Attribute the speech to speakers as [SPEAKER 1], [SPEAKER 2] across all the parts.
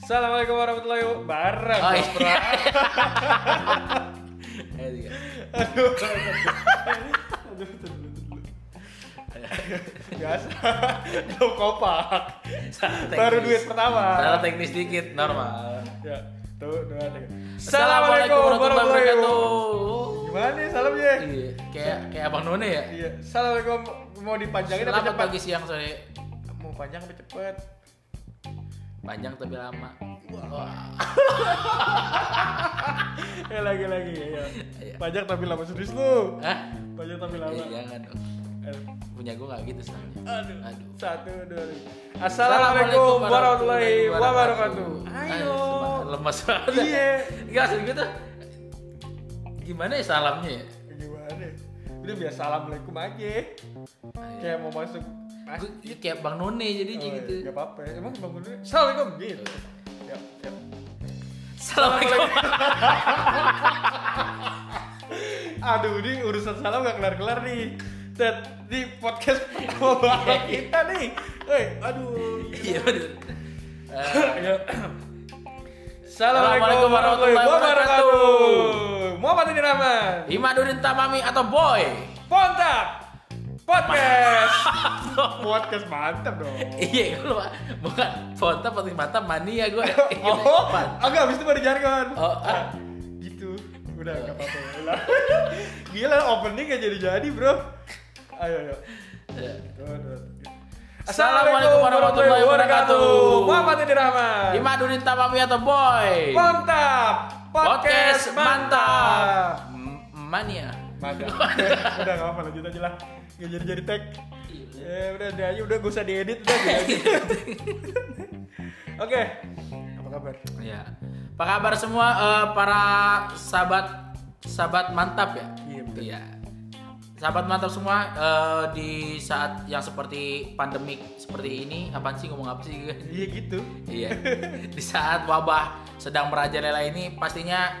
[SPEAKER 1] Assalamualaikum warahmatullahi wabarakatuh.
[SPEAKER 2] Oh, iya. Ayo, tiga.
[SPEAKER 1] Biasa. Lo kopak.
[SPEAKER 2] Salah
[SPEAKER 1] Baru
[SPEAKER 2] teknis.
[SPEAKER 1] duit pertama.
[SPEAKER 2] Salah teknis dikit, normal.
[SPEAKER 1] Ya, tuh, dua, tiga.
[SPEAKER 2] Assalamualaikum warahmatullahi wabarakatuh.
[SPEAKER 1] Gimana nih salamnya?
[SPEAKER 2] Iya, kayak kayak Abang None ya.
[SPEAKER 1] Iya. Assalamualaikum mau dipanjangin apa
[SPEAKER 2] Selamat
[SPEAKER 1] cepat?
[SPEAKER 2] pagi, siang, sore.
[SPEAKER 1] Mau panjang apa cepat?
[SPEAKER 2] Panjang tapi lama. Wah.
[SPEAKER 1] Ya lagi lagi ya.
[SPEAKER 2] Iya.
[SPEAKER 1] Panjang tapi lama serius lu.
[SPEAKER 2] Hah?
[SPEAKER 1] Panjang tapi
[SPEAKER 2] Eh,
[SPEAKER 1] lama. Eh,
[SPEAKER 2] jangan dong.
[SPEAKER 1] Aduh.
[SPEAKER 2] Punya gue gak gitu soalnya.
[SPEAKER 1] Aduh.
[SPEAKER 2] Aduh.
[SPEAKER 1] Satu, dua, tiga. Assalamualaikum warahmatullahi wabarakatuh. Ayo.
[SPEAKER 2] Ayo. Lemes banget.
[SPEAKER 1] Iya.
[SPEAKER 2] Enggak asli gitu. Gimana ya salamnya ya?
[SPEAKER 1] Gimana? Udah biasa assalamualaikum aja. Kayak mau masuk.
[SPEAKER 2] Gua, ini kayak Bang None jadinya
[SPEAKER 1] Oh,
[SPEAKER 2] gitu.
[SPEAKER 1] Gak apa-apa. Emang bangun dulu. Assalamualaikum gitu. Ya, ya.
[SPEAKER 2] Assalamualaikum.
[SPEAKER 1] Aduh, ini urusan salam gak kelar-kelar nih. Tet, di podcast pertama bareng kita nih. Woi, aduh.
[SPEAKER 2] Iya bener. Eh,
[SPEAKER 1] Ya. Assalamualaikum warahmatullahi wabarakatuh. Muhammad Ini Rahman.
[SPEAKER 2] Imaduddin Tamami atau Boy.
[SPEAKER 1] Pontak Podcast. podcast mantap dong.
[SPEAKER 2] Iya, gue lupa. Bukan Fonta Putri Mata ya Mania gue.
[SPEAKER 1] Oh, agak habis itu baru jargon.
[SPEAKER 2] Iya, Oh, ah.
[SPEAKER 1] gitu. Udah enggak apa-apa. Gila. Gila opening gak jadi-jadi, Bro. Ayo, ayo. Tuh, tuh.
[SPEAKER 2] Iya. Assalamualaikum warahmatullahi wabarakatuh.
[SPEAKER 1] Muhammad Ini Rahman.
[SPEAKER 2] Imaduddin Tamami atau Boy.
[SPEAKER 1] Mantap.
[SPEAKER 2] Podcast mantap.
[SPEAKER 1] mantap.
[SPEAKER 2] M- ya? Mania.
[SPEAKER 1] Mantap. udah enggak apa-apa lanjut aja lah. Gak jadi-jadi tag.
[SPEAKER 2] Iya.
[SPEAKER 1] Ya udah udah aja udah gak usah diedit udah gua edit. Oke. Apa kabar?
[SPEAKER 2] Ya. Apa kabar semua eh, para sahabat sahabat mantap ya?
[SPEAKER 1] Iya, betul.
[SPEAKER 2] Sahabat mantap semua eh, di saat yang seperti pandemik seperti ini apa sih ngomong apa sih?
[SPEAKER 1] Iya gitu.
[SPEAKER 2] Iya. Di saat wabah sedang merajalela ini pastinya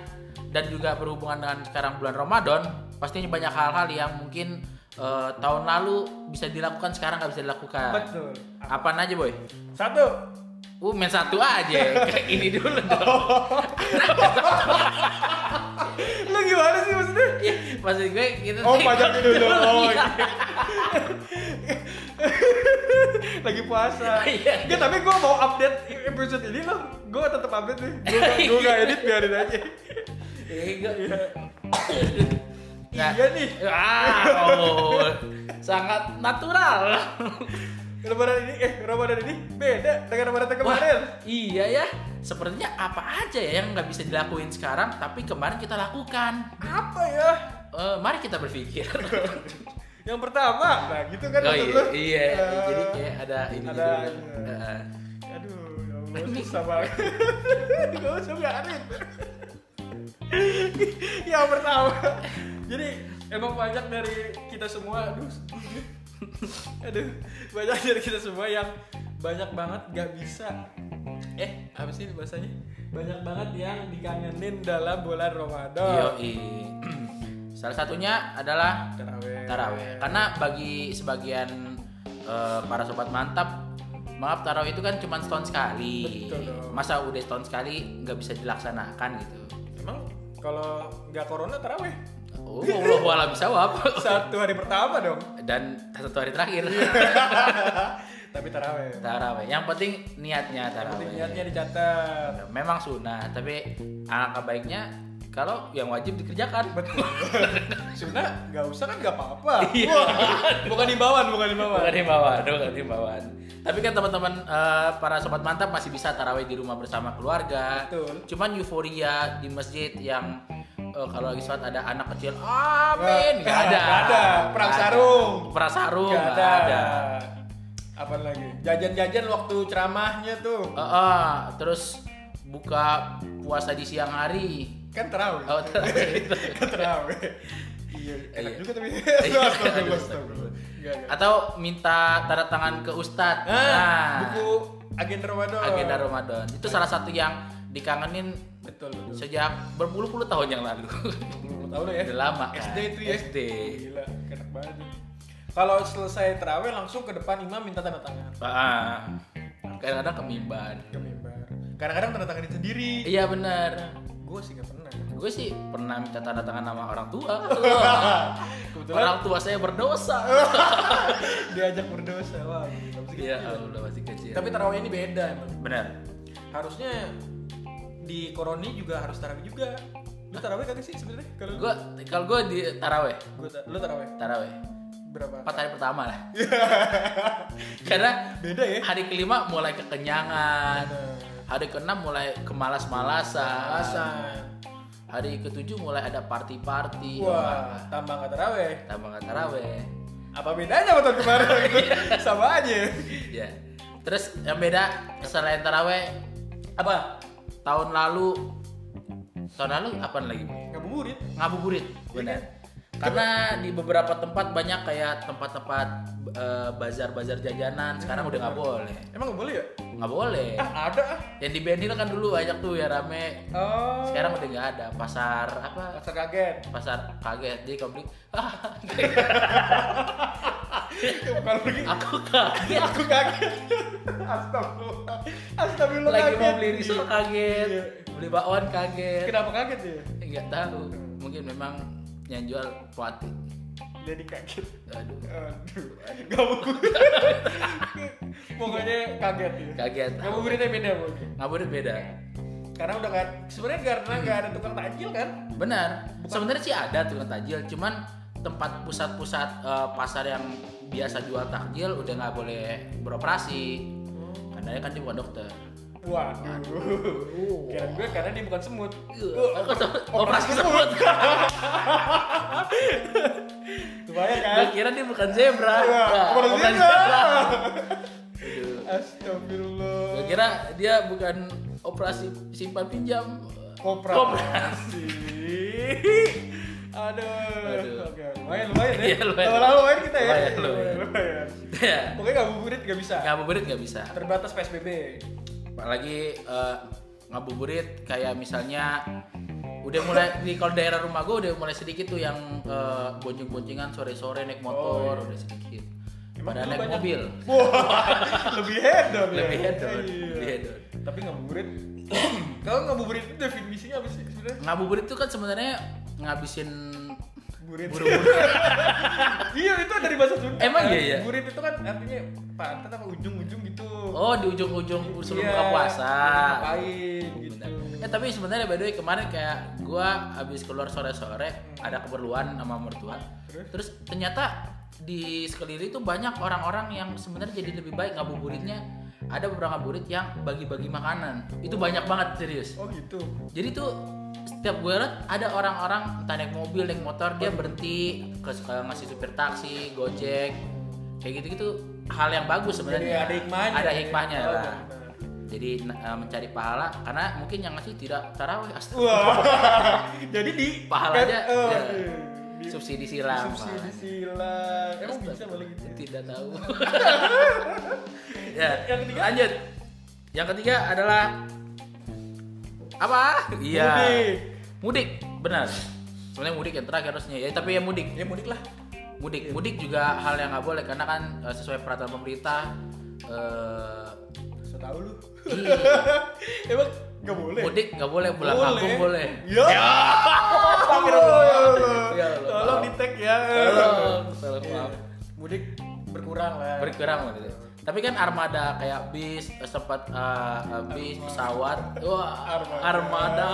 [SPEAKER 2] dan juga berhubungan dengan sekarang bulan Ramadan, pastinya banyak hal-hal yang mungkin eh, tahun lalu bisa dilakukan sekarang nggak bisa dilakukan.
[SPEAKER 1] Betul.
[SPEAKER 2] Apaan aja boy?
[SPEAKER 1] Satu.
[SPEAKER 2] Uh main satu aja, kayak ini dulu dong.
[SPEAKER 1] Oh. Lu gimana sih maksudnya?
[SPEAKER 2] Iya. Maksud gue kita
[SPEAKER 1] Oh, pajaknya dulu. Oh,
[SPEAKER 2] Iya.
[SPEAKER 1] iya. Lagi puasa.
[SPEAKER 2] Iya.
[SPEAKER 1] Ya tapi gue mau update episode ini loh. Gue tetap update nih. Gue gak edit biarin aja.
[SPEAKER 2] Iya, gue- Nah.
[SPEAKER 1] Iya nih.
[SPEAKER 2] Ah, oh. sangat natural.
[SPEAKER 1] Lebaran ini eh Ramadan ini beda dengan Ramadan tahun kemarin.
[SPEAKER 2] Wah, iya ya. Sepertinya apa aja ya yang nggak bisa dilakuin sekarang, tapi kemarin kita lakukan.
[SPEAKER 1] Apa ya?
[SPEAKER 2] Eh, mari kita berpikir.
[SPEAKER 1] Kan Yang pertama, nah gitu kan
[SPEAKER 2] oh
[SPEAKER 1] maksud
[SPEAKER 2] iya,
[SPEAKER 1] lu.
[SPEAKER 2] iya.
[SPEAKER 1] Eh,
[SPEAKER 2] jadi kayak ada ini
[SPEAKER 1] ada,
[SPEAKER 2] gitu.
[SPEAKER 1] iya.
[SPEAKER 2] Heeh.
[SPEAKER 1] Aduh, ya Allah susah banget. Gak usah biarin. Yang Ya, pertama, jadi emang banyak dari kita semua, aduh, aduh, banyak dari kita semua yang banyak banget gak bisa. Eh, apa sih bahasanya? Banyak banget yang dikangenin dalam bulan Ramadan.
[SPEAKER 2] Yoi. Salah satunya adalah
[SPEAKER 1] Taraweh.
[SPEAKER 2] taraweh. Karena bagi sebagian eh, para sobat mantap, maaf taraweh itu kan cuma setahun sekali.
[SPEAKER 1] Betul dong.
[SPEAKER 2] Masa udah setahun sekali nggak bisa dilaksanakan gitu.
[SPEAKER 1] Emang kalau nggak corona taraweh?
[SPEAKER 2] Oh, Allah wala bisa apa?
[SPEAKER 1] Satu hari pertama dong.
[SPEAKER 2] Dan satu hari terakhir
[SPEAKER 1] Iya. Tapi taraweh.
[SPEAKER 2] taraweh. Yang penting niatnya taraweh.
[SPEAKER 1] Penting niatnya dicatat.
[SPEAKER 2] Memang sunnah, tapi alangkah baiknya kalau yang wajib dikerjakan.
[SPEAKER 1] Betul. Sebenarnya nggak usah kan nggak apa-apa.
[SPEAKER 2] Iya.
[SPEAKER 1] Wah, bukan imbauan, bukan imbauan.
[SPEAKER 2] Bukan himbauan, bukan himbauan. Tapi kan teman-teman eh, para sobat mantap masih bisa tarawih di rumah bersama keluarga.
[SPEAKER 1] Betul.
[SPEAKER 2] Cuman euforia di masjid yang eh, kalau lagi sholat ada anak kecil, amin, nggak ada.
[SPEAKER 1] Nggak ada. Perang
[SPEAKER 2] Nggak ada.
[SPEAKER 1] sarung.
[SPEAKER 2] Perang sarung,
[SPEAKER 1] Nggak
[SPEAKER 2] nggak ada.
[SPEAKER 1] Apa lagi? Jajan-jajan waktu ceramahnya tuh
[SPEAKER 2] Eh, eh, terus buka puasa di siang hari.
[SPEAKER 1] kan terawih.
[SPEAKER 2] Oh, tarawih itu.
[SPEAKER 1] kan terawih. Iya, enak
[SPEAKER 2] Iya.
[SPEAKER 1] juga tapi.
[SPEAKER 2] Iya.
[SPEAKER 1] Astagfirullah, astagfirullah. Nggak, nggak.
[SPEAKER 2] Atau minta tanda tangan ke ustadz.
[SPEAKER 1] Ah, buku agenda Ramadan.
[SPEAKER 2] agenda Ramadan. Itu salah satu yang dikangenin
[SPEAKER 1] Betul, betul.
[SPEAKER 2] sejak berpuluh-puluh tahun yang lalu.
[SPEAKER 1] Belum tahu lo ya.
[SPEAKER 2] Udah kan? lama.
[SPEAKER 1] SD itu ya.
[SPEAKER 2] SD.
[SPEAKER 1] Gila, enak banget. Kalau selesai terawih langsung ke depan imam minta tanda tangan.
[SPEAKER 2] Ah, kadang-kadang kemimban.
[SPEAKER 1] Ke mimbar. Kadang-kadang tanda tanganin sendiri.
[SPEAKER 2] Iya benar.
[SPEAKER 1] Gue sih gak pernah.
[SPEAKER 2] Gue sih pernah minta tanda tangan sama orang tua.
[SPEAKER 1] Kebetulan
[SPEAKER 2] orang tua saya berdosa.
[SPEAKER 1] diajak berdosa. Wah, gila, masih
[SPEAKER 2] Iya,
[SPEAKER 1] kecil.
[SPEAKER 2] Allah masih kecil.
[SPEAKER 1] Tapi tarawih ini beda emang.
[SPEAKER 2] benar.
[SPEAKER 1] Harusnya di koroni juga harus tarawih juga. Lu tarawih kagak sih sebenarnya? Kalau
[SPEAKER 2] Gue kalau gue di taraweh,
[SPEAKER 1] gua ta- lu tarawih
[SPEAKER 2] taraweh
[SPEAKER 1] berapa?
[SPEAKER 2] empat hari pertama lah. Karena
[SPEAKER 1] Beda ya.
[SPEAKER 2] hari kelima mulai kekenyangan, hari keenam mulai kemalas-malasan,
[SPEAKER 1] Alasan.
[SPEAKER 2] hari ketujuh mulai ada party-party.
[SPEAKER 1] Wah, tambah nggak tarawih.
[SPEAKER 2] Tambah nggak taraweh.
[SPEAKER 1] Apa bedanya sama tahun kemarin?
[SPEAKER 2] Iya.
[SPEAKER 1] Sama aja.
[SPEAKER 2] Ya. Terus yang beda selain taraweh apa? Tahun lalu tahun lalu apa lagi?
[SPEAKER 1] Ngabuburit.
[SPEAKER 2] Ngabuburit.
[SPEAKER 1] Iya.
[SPEAKER 2] Benar. Karena di beberapa tempat banyak kayak tempat-tempat eh, bazar-bazar jajanan sekarang udah nggak boleh.
[SPEAKER 1] Emang nggak boleh ya?
[SPEAKER 2] Nggak boleh.
[SPEAKER 1] Iya, Ah, ada ah.
[SPEAKER 2] Yang di Benhil kan dulu banyak tuh ya rame.
[SPEAKER 1] Oh.
[SPEAKER 2] Sekarang udah nggak ada. Pasar apa?
[SPEAKER 1] Pasar kaget.
[SPEAKER 2] Pasar kaget jadi kamu beli, "Ah,
[SPEAKER 1] Bukan pergi.
[SPEAKER 2] Iya, aku kaget.
[SPEAKER 1] Aku kaget. Astagfirullah. Astagfirullah.
[SPEAKER 2] Lagi mau
[SPEAKER 1] kaget.
[SPEAKER 2] beli risol kaget,
[SPEAKER 1] Iya.
[SPEAKER 2] beli bakwan kaget.
[SPEAKER 1] Kenapa kaget ya?
[SPEAKER 2] nggak tahu mungkin memang yang jual pelatih
[SPEAKER 1] Jadi kaget.
[SPEAKER 2] aduh
[SPEAKER 1] Aduh. Gak mau. Pokoknya kaget ya.
[SPEAKER 2] kaget
[SPEAKER 1] Gak mau berita beda pokoknya.
[SPEAKER 2] ngaburit beda
[SPEAKER 1] Karena udah nggak. Sebenarnya karena nggak ada tukang takjil kan?
[SPEAKER 2] benar sebenarnya sih ada tukang takjil cuman tempat pusat-pusat eh, pasar yang biasa jual takjil udah nggak boleh beroperasi
[SPEAKER 1] Oh.
[SPEAKER 2] karena dia kan dia bukan dokter
[SPEAKER 1] Eh? Waduh. Kira gue karena dia bukan semut. Oh,
[SPEAKER 2] Aku tuh Iya. operasi semut
[SPEAKER 1] Kebayang kan?
[SPEAKER 2] gue kira dia bukan zebra
[SPEAKER 1] Wah,
[SPEAKER 2] Nah,
[SPEAKER 1] operasi Iya, zebra.
[SPEAKER 2] Aduh.
[SPEAKER 1] Astagfirullah.
[SPEAKER 2] Gua kira dia bukan operasi simpan pinjam
[SPEAKER 1] Koperasi. Aduh.
[SPEAKER 2] Aduh.
[SPEAKER 1] Oke, lumayan lumayan ya.
[SPEAKER 2] Iya, lumayan.
[SPEAKER 1] Lama-lama lumayan kita ya.
[SPEAKER 2] Lumayan, lumayan.
[SPEAKER 1] lumayan.
[SPEAKER 2] ya
[SPEAKER 1] Pokoknya ngabuburit gak bisa.
[SPEAKER 2] ngabuburit nggak bisa
[SPEAKER 1] Terbatas PSBB.
[SPEAKER 2] apalagi eh, ngabuburit kayak misalnya udah mulai di kalau daerah rumah gue udah mulai sedikit tuh yang eh, bonceng-boncengan sore-sore naik motor udah sedikit
[SPEAKER 1] Emang dulu
[SPEAKER 2] pada naik
[SPEAKER 1] banyak-
[SPEAKER 2] mobil
[SPEAKER 1] Wah, lebih hedon ya.
[SPEAKER 2] lebih hedon
[SPEAKER 1] Iya.
[SPEAKER 2] lebih hedon
[SPEAKER 1] Tapi ngabuburit. Kalau ngabuburit itu definisinya apa sih sebenarnya?
[SPEAKER 2] ngabuburit tuh kan sebenarnya ngabisin
[SPEAKER 1] Burit.
[SPEAKER 2] buru-buru
[SPEAKER 1] iya, itu dari bahasa Sunda.
[SPEAKER 2] Emang iya, iya?
[SPEAKER 1] Burit itu kan artinya pantat apa ujung-ujung gitu.
[SPEAKER 2] oh di ujung-ujung sebelum
[SPEAKER 1] Iya,
[SPEAKER 2] buka puasa
[SPEAKER 1] Ngapain gitu.
[SPEAKER 2] Bener. Eh tapi sebenarnya by the way kemarin kayak gua habis keluar sore-sore ada keperluan sama mertua.
[SPEAKER 1] Terus?
[SPEAKER 2] Terus, ternyata di sekeliling itu banyak orang-orang yang sebenarnya jadi lebih baik ngabuburitnya. Ada beberapa ngabuburit yang bagi-bagi makanan. Itu banyak banget serius.
[SPEAKER 1] Oh gitu.
[SPEAKER 2] Jadi tuh setiap gue liat ada orang-orang entah naik mobil, naik motor dia berhenti ke ke ngasih supir taksi, gojek kayak gitu-gitu hal yang bagus
[SPEAKER 1] Jadi
[SPEAKER 2] sebenarnya.
[SPEAKER 1] ada hikmahnya.
[SPEAKER 2] Ada hikmahnya
[SPEAKER 1] Oh,
[SPEAKER 2] lah
[SPEAKER 1] benar.
[SPEAKER 2] jadi na- eh, mencari pahala karena mungkin yang ngasih tidak taraweh astagfirullah
[SPEAKER 1] Wah, jadi di
[SPEAKER 2] Pahalanya,
[SPEAKER 1] kan, eh,
[SPEAKER 2] ya.
[SPEAKER 1] di-
[SPEAKER 2] subsidi
[SPEAKER 1] di
[SPEAKER 2] silang
[SPEAKER 1] subsidi
[SPEAKER 2] Pak.
[SPEAKER 1] silang. Emang bisa
[SPEAKER 2] Astagfirullah.
[SPEAKER 1] boleh gitu?
[SPEAKER 2] tidak tahu ya
[SPEAKER 1] Yang ketiga?
[SPEAKER 2] lanjut yang ketiga adalah apa iya
[SPEAKER 1] Mudik.
[SPEAKER 2] mudik benar sebenarnya mudik yang terakhir harusnya ya tapi ya mudik
[SPEAKER 1] Ya mudik lah.
[SPEAKER 2] mudik mudik juga hal yang nggak boleh karena kan eh, sesuai peraturan pemerintah eh,
[SPEAKER 1] Setahu lu.
[SPEAKER 2] iya,
[SPEAKER 1] Emang nggak boleh.
[SPEAKER 2] mudik nggak boleh pulang kampung boleh
[SPEAKER 1] Ya. Astagfirullah, ya Allah.
[SPEAKER 2] Ya Allah.
[SPEAKER 1] Tolong di tag ya.
[SPEAKER 2] tolong tolong
[SPEAKER 1] Iya.
[SPEAKER 2] maaf
[SPEAKER 1] Mudik berkurang lah.
[SPEAKER 2] berkurang gitu. Tapi kan armada kayak bis, sempat eh, eh, bis, pesawat, wah
[SPEAKER 1] Armada.
[SPEAKER 2] armada.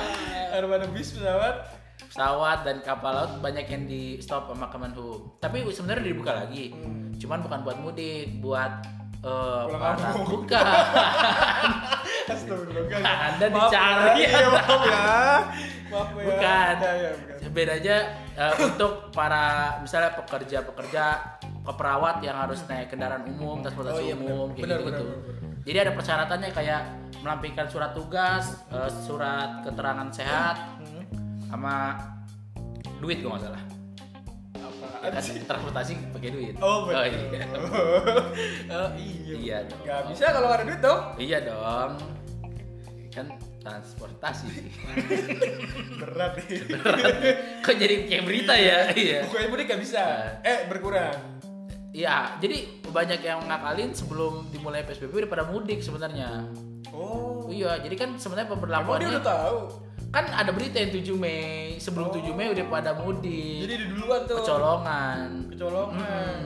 [SPEAKER 2] Ah.
[SPEAKER 1] Armada bis pesawat.
[SPEAKER 2] pesawat dan kapal laut banyak yang di stop sama Kemenhub. Tapi sebenarnya dibuka lagi. Cuman bukan buat mudik, buat eh,
[SPEAKER 1] Hmm. Pulang
[SPEAKER 2] para
[SPEAKER 1] kampung.
[SPEAKER 2] bukan.
[SPEAKER 1] Astagfirullah. guys.
[SPEAKER 2] Anda
[SPEAKER 1] Maaf ya.
[SPEAKER 2] dicari.
[SPEAKER 1] Iya, maaf ya. Maaf ya.
[SPEAKER 2] Bukan.
[SPEAKER 1] Ya, ya, bukan.
[SPEAKER 2] Bedanya eh, untuk para misalnya pekerja-pekerja keperawat yang harus naik kendaraan umum,
[SPEAKER 1] Oh,
[SPEAKER 2] transportasi
[SPEAKER 1] iya, benar.
[SPEAKER 2] umum, kayak
[SPEAKER 1] Benar,
[SPEAKER 2] gitu-gitu.
[SPEAKER 1] benar, benar,
[SPEAKER 2] Jadi ada persyaratannya kayak melampirkan surat tugas, eh, surat keterangan sehat,
[SPEAKER 1] Hmm.
[SPEAKER 2] sama duit kalau nggak salah. Ya
[SPEAKER 1] Apaan
[SPEAKER 2] kan,
[SPEAKER 1] sih?
[SPEAKER 2] transportasi pakai duit.
[SPEAKER 1] Oh betul.
[SPEAKER 2] iya.
[SPEAKER 1] Oh, iya.
[SPEAKER 2] Iya dong.
[SPEAKER 1] Gak bisa kalau nggak ada duit dong.
[SPEAKER 2] Iya dong. Iya Kan transportasi sih.
[SPEAKER 1] berat nih
[SPEAKER 2] Kok jadi kayak berita ya? Iya.
[SPEAKER 1] Bukannya mudik gak bisa eh berkurang
[SPEAKER 2] Iya, jadi banyak yang ngakalin sebelum dimulai PSBB udah pada mudik sebenarnya.
[SPEAKER 1] oh
[SPEAKER 2] Iya, jadi kan sebenarnya
[SPEAKER 1] emang dia
[SPEAKER 2] pemberlakuannya
[SPEAKER 1] udah tahu
[SPEAKER 2] kan ada berita yang 7 Mei, sebelum
[SPEAKER 1] Oh.
[SPEAKER 2] 7 Mei udah pada mudik.
[SPEAKER 1] jadi di duluan tuh
[SPEAKER 2] kecolongan.
[SPEAKER 1] kecolongan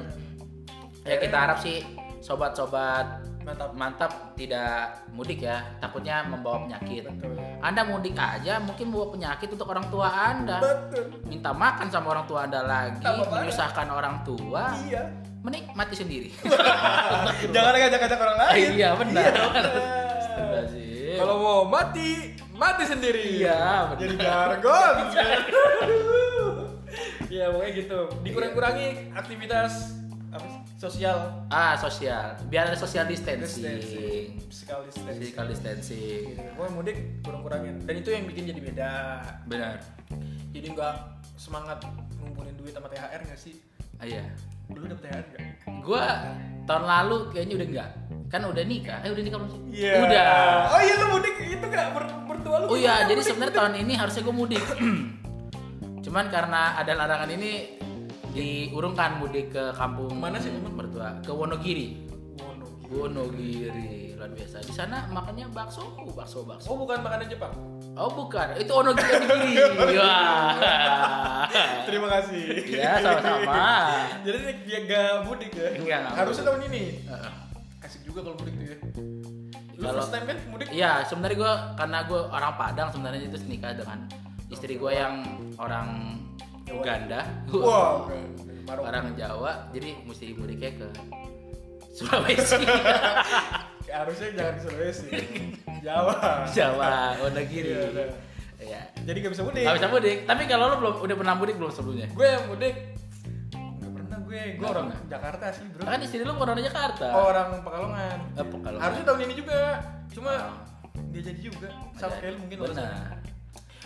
[SPEAKER 2] Ya kita harap sih sobat-sobat
[SPEAKER 1] mantap
[SPEAKER 2] mantap tidak mudik ya, takutnya membawa penyakit.
[SPEAKER 1] betul
[SPEAKER 2] Anda mudik aja mungkin bawa penyakit untuk orang tua Anda.
[SPEAKER 1] betul
[SPEAKER 2] Minta makan sama orang tua Anda lagi,
[SPEAKER 1] Tambah parah.
[SPEAKER 2] menyusahkan orang tua,
[SPEAKER 1] iya
[SPEAKER 2] menikmati sendiri.
[SPEAKER 1] jangan ngajak-ngajak orang lain
[SPEAKER 2] iya benar.
[SPEAKER 1] benar.
[SPEAKER 2] Astagfirullahaladzim.
[SPEAKER 1] kalau mau mati mati sendiri
[SPEAKER 2] Iya, benar.
[SPEAKER 1] jadi gargon Iya pokoknya gitu dikurang-kurangi aktivitas apa sih? sosial
[SPEAKER 2] ah sosial, biar ada social
[SPEAKER 1] Iya
[SPEAKER 2] distancing.
[SPEAKER 1] distancing physical distancing
[SPEAKER 2] Physical distancing.
[SPEAKER 1] Iya, Pokoknya mudik kurang-kurangin dan itu yang bikin jadi beda
[SPEAKER 2] Benar.
[SPEAKER 1] jadi nggak semangat ngumpulin duit sama THR nggak sih
[SPEAKER 2] Ah, iya.
[SPEAKER 1] dulu dapet THR nggak
[SPEAKER 2] Gua tahun lalu kayaknya udah enggak. Kan udah nikah. Eh udah nikah belum sih?
[SPEAKER 1] Iya.
[SPEAKER 2] Udah.
[SPEAKER 1] Oh iya lu mudik itu nggak ber bertua lu?
[SPEAKER 2] Oh iya,
[SPEAKER 1] gimana
[SPEAKER 2] jadi
[SPEAKER 1] mudik?
[SPEAKER 2] sebenarnya tahun ini harusnya gue mudik. Cuman karena ada larangan ini diurungkan mudik ke kampung
[SPEAKER 1] Mana sih, Om?
[SPEAKER 2] mertua ke Wonogiri
[SPEAKER 1] Wono.
[SPEAKER 2] Wonogiri luar biasa di sana makannya bakso bakso bakso
[SPEAKER 1] Oh bukan makanan Jepang.
[SPEAKER 2] oh bukan itu Wonogiri wah
[SPEAKER 1] Terima kasih.
[SPEAKER 2] Iya, sama-sama.
[SPEAKER 1] jadi dia nggak mudik ya?
[SPEAKER 2] Nggak, nggak
[SPEAKER 1] Harusnya tahun ini.
[SPEAKER 2] Iya, Heeh.
[SPEAKER 1] Asik juga kalau mudik tuh ya. Lu
[SPEAKER 2] Kalau-
[SPEAKER 1] first time kan mudik?
[SPEAKER 2] Iya, sebenarnya gue karena gue orang Padang sebenarnya itu nikah dengan istri gue yang orang Uganda,
[SPEAKER 1] Wow. Maroko.
[SPEAKER 2] orang Jawa, jadi mesti mudiknya ke Sulawesi,
[SPEAKER 1] Harusnya jangan ke Sulawesi. Jawa.
[SPEAKER 2] Jawa, Wonogiri.
[SPEAKER 1] Iya, iya.
[SPEAKER 2] Iya.
[SPEAKER 1] Jadi nggak bisa mudik.
[SPEAKER 2] Gak bisa mudik. Tapi kalau lo belum udah pernah mudik belum sebelumnya?
[SPEAKER 1] Gue yang mudik. Nggak pernah gue. Gue
[SPEAKER 2] Nggak
[SPEAKER 1] orang
[SPEAKER 2] pernah.
[SPEAKER 1] Jakarta sih bro.
[SPEAKER 2] Kan istri lo orang Jakarta.
[SPEAKER 1] Oh, orang Pekalongan.
[SPEAKER 2] Eh, Pekalongan.
[SPEAKER 1] Harusnya tahun ini juga. Cuma
[SPEAKER 2] Oh.
[SPEAKER 1] dia jadi juga. Sama
[SPEAKER 2] Ada-
[SPEAKER 1] sekali mungkin
[SPEAKER 2] Benar. Hmm.
[SPEAKER 1] alasannya.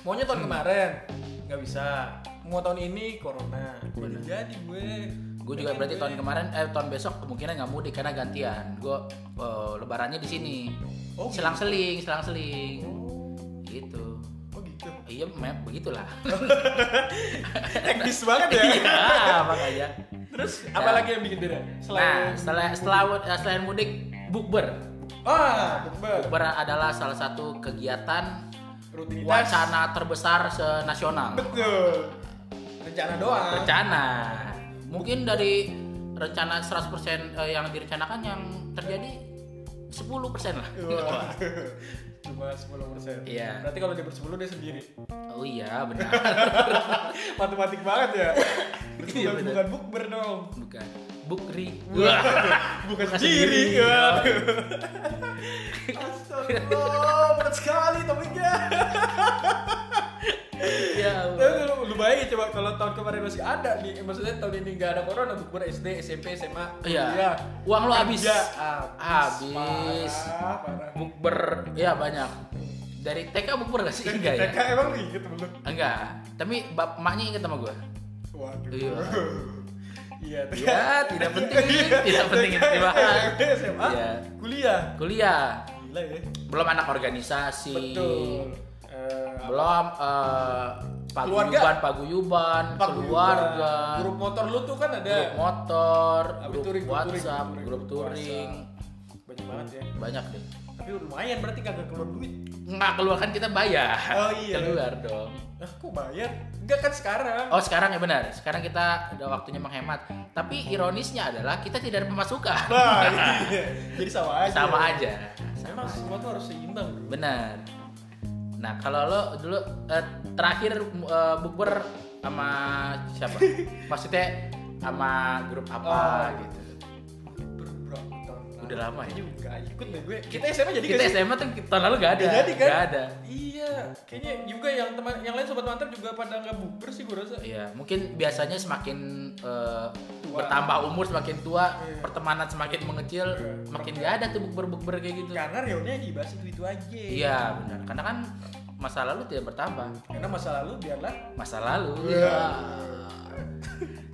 [SPEAKER 1] Maunya tahun kemarin nggak bisa. Mau tahun ini corona. Jadi jadi gue.
[SPEAKER 2] Gue juga berarti tahun kemarin, eh tahun besok kemungkinan nggak mudik karena gantian. Gue lebarannya di sini.
[SPEAKER 1] Oh, gitu.
[SPEAKER 2] selang-seling, selang-seling. Gitu.
[SPEAKER 1] Oh gitu.
[SPEAKER 2] Iya, map begitulah.
[SPEAKER 1] Oh, Teknis banget ya.
[SPEAKER 2] Iya, makanya.
[SPEAKER 1] Terus apalagi yang bikin beda?
[SPEAKER 2] Nah,
[SPEAKER 1] Selain
[SPEAKER 2] setelah setelah eh, selain mudik, bukber.
[SPEAKER 1] ah, bukber,
[SPEAKER 2] Bukber adalah salah satu kegiatan
[SPEAKER 1] rutinitas.
[SPEAKER 2] wacana terbesar senasional.
[SPEAKER 1] Betul. Rencana doang.
[SPEAKER 2] Rencana. Mungkin dari rencana 100% eh, yang direncanakan yang terjadi 10% lah.
[SPEAKER 1] Wah. Cuma 10 persen.
[SPEAKER 2] Iya.
[SPEAKER 1] Berarti kalau dia bersepuluh dia sendiri.
[SPEAKER 2] Oh iya, benar.
[SPEAKER 1] Matematik banget ya. Berarti
[SPEAKER 2] Iya,
[SPEAKER 1] bukan,
[SPEAKER 2] bener.
[SPEAKER 1] bukan bukber dong.
[SPEAKER 2] Bukan. Bukri.
[SPEAKER 1] bukan
[SPEAKER 2] Bukan
[SPEAKER 1] sendiri
[SPEAKER 2] sendiri. Iya.
[SPEAKER 1] kan astagfirullah berat sekali topiknya
[SPEAKER 2] Ya.
[SPEAKER 1] tapi lu, lu bayangin coba kalau tahun kemarin masih ada nih eh, maksudnya tahun ini nggak ada corona bukber SD SMP SMA
[SPEAKER 2] Iya.
[SPEAKER 1] kuliah,
[SPEAKER 2] Uang lu habis.
[SPEAKER 1] kerja,
[SPEAKER 2] Habis.
[SPEAKER 1] Kan parah, parah.
[SPEAKER 2] Bukber ya banyak. Dari TK bukber gak sih? Enggak ya.
[SPEAKER 1] TK emang lu inget belum
[SPEAKER 2] Enggak. Tapi bap maknya inget sama gue.
[SPEAKER 1] waduh
[SPEAKER 2] Iya.
[SPEAKER 1] iya
[SPEAKER 2] Ya, tidak penting, tidak penting itu dibahas.
[SPEAKER 1] SMP SMA
[SPEAKER 2] Iya.
[SPEAKER 1] kuliah
[SPEAKER 2] Kuliah
[SPEAKER 1] gila ya
[SPEAKER 2] belum anak organisasi.
[SPEAKER 1] betul Eh,
[SPEAKER 2] Belum eh,
[SPEAKER 1] Keluarga.
[SPEAKER 2] paguyuban, paguyuban,
[SPEAKER 1] Pak
[SPEAKER 2] keluarga,
[SPEAKER 1] Yuda, grup motor lu tuh kan ada
[SPEAKER 2] grup motor,
[SPEAKER 1] Apa,
[SPEAKER 2] grup
[SPEAKER 1] touring, grup touring,
[SPEAKER 2] WhatsApp,
[SPEAKER 1] touring,
[SPEAKER 2] grup
[SPEAKER 1] grup
[SPEAKER 2] touring,
[SPEAKER 1] WhatsApp. banyak banget ya
[SPEAKER 2] banyak deh.
[SPEAKER 1] tapi lumayan berarti kagak keluar duit
[SPEAKER 2] Nggak keluar kan kita bayar.
[SPEAKER 1] Oh, iya.
[SPEAKER 2] Keluar dong.
[SPEAKER 1] ah kok bayar enggak kan sekarang
[SPEAKER 2] Oh sekarang ya benar. Sekarang kita udah waktunya menghemat. Tapi ironisnya adalah kita tidak ada pemasukan.
[SPEAKER 1] nah iya. jadi sama aja
[SPEAKER 2] Sama aja.
[SPEAKER 1] emang semua tuh harus seimbang bro
[SPEAKER 2] Benar. Nah kalau lo dulu eh, terakhir eh, bukber sama siapa? Maksudnya sama grup apa
[SPEAKER 1] Oh.
[SPEAKER 2] gitu?
[SPEAKER 1] Ber- bro, tahun lalu.
[SPEAKER 2] Udah lama ya?
[SPEAKER 1] juga ikut deh gue kita SMA jadi
[SPEAKER 2] kita
[SPEAKER 1] nggak sih?
[SPEAKER 2] SMA tuh tahun lalu gak ada.
[SPEAKER 1] Nggak jadi kan?
[SPEAKER 2] Nggak ada.
[SPEAKER 1] iya kayaknya juga yang teman yang lain sobat mantap juga pada nggak buber sih gue rasa
[SPEAKER 2] Iya, mungkin biasanya semakin eh,
[SPEAKER 1] Tua.
[SPEAKER 2] bertambah umur semakin tua,
[SPEAKER 1] Iya.
[SPEAKER 2] pertemanan semakin mengecil,
[SPEAKER 1] Iya.
[SPEAKER 2] makin gak ada tuh bukber-bukber kayak gitu.
[SPEAKER 1] karena reuninya dibahas itu itu aja
[SPEAKER 2] Iya, benar. Karena kan masa lalu tidak bertambah.
[SPEAKER 1] karena masa lalu biarlah
[SPEAKER 2] Masa lalu.
[SPEAKER 1] Iya.
[SPEAKER 2] Iya.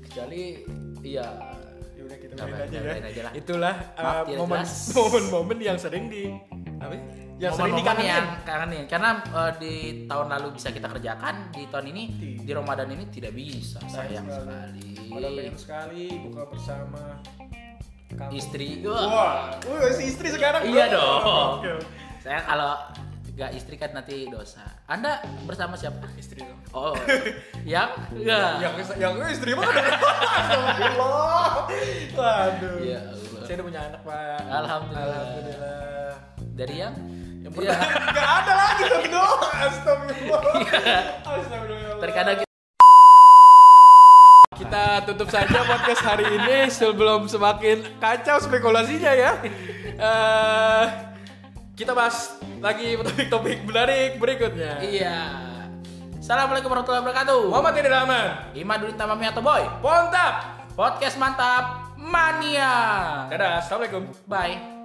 [SPEAKER 2] Kecuali iya
[SPEAKER 1] ya udah kita
[SPEAKER 2] Apa,
[SPEAKER 1] udahin aja
[SPEAKER 2] udahin
[SPEAKER 1] ya.
[SPEAKER 2] aja lah.
[SPEAKER 1] Itulah
[SPEAKER 2] Maaf,
[SPEAKER 1] uh,
[SPEAKER 2] tidak
[SPEAKER 1] momen
[SPEAKER 2] jelas.
[SPEAKER 1] momen-momen yang sering di apa? ya? Yang sering
[SPEAKER 2] momen-momen
[SPEAKER 1] dikangenin.
[SPEAKER 2] yang kangenin karena eh, di tahun lalu bisa kita kerjakan di tahun ini
[SPEAKER 1] Tidak.
[SPEAKER 2] di Ramadan ini tidak bisa sayang sekali
[SPEAKER 1] Padahal pengen sekali buka bersama kamu.
[SPEAKER 2] istri
[SPEAKER 1] Wah, wah si istri sekarang. bro.
[SPEAKER 2] Iya dong.
[SPEAKER 1] Oke.
[SPEAKER 2] saya kalau nggak istri kan nanti dosa anda bersama siapa
[SPEAKER 1] Istri dong.
[SPEAKER 2] oh yang Ya.
[SPEAKER 1] Yang
[SPEAKER 2] enggak
[SPEAKER 1] yang istri mana? Astagfirullah. Waduh.
[SPEAKER 2] Ya Allah.
[SPEAKER 1] Iya, Saya udah punya anak, Pak.
[SPEAKER 2] Alhamdulillah.
[SPEAKER 1] Alhamdulillah.
[SPEAKER 2] dari yang
[SPEAKER 1] Yang
[SPEAKER 2] Iya.
[SPEAKER 1] pertama enggak ada lagi satu doang. Astagfirullah. Astagfirullah.
[SPEAKER 2] terkadang kita
[SPEAKER 1] Kita tutup saja podcast hari ini sebelum semakin kacau spekulasinya ya. Eh, kita bahas lagi topik-topik menarik berikutnya.
[SPEAKER 2] iya assalamualaikum warahmatullahi wabarakatuh
[SPEAKER 1] Muhammad Idil Rahman,
[SPEAKER 2] Imadudin Tamami atau Boy
[SPEAKER 1] Pontap.
[SPEAKER 2] podcast mantap mania
[SPEAKER 1] Dadah, Assalamualaikum.
[SPEAKER 2] bye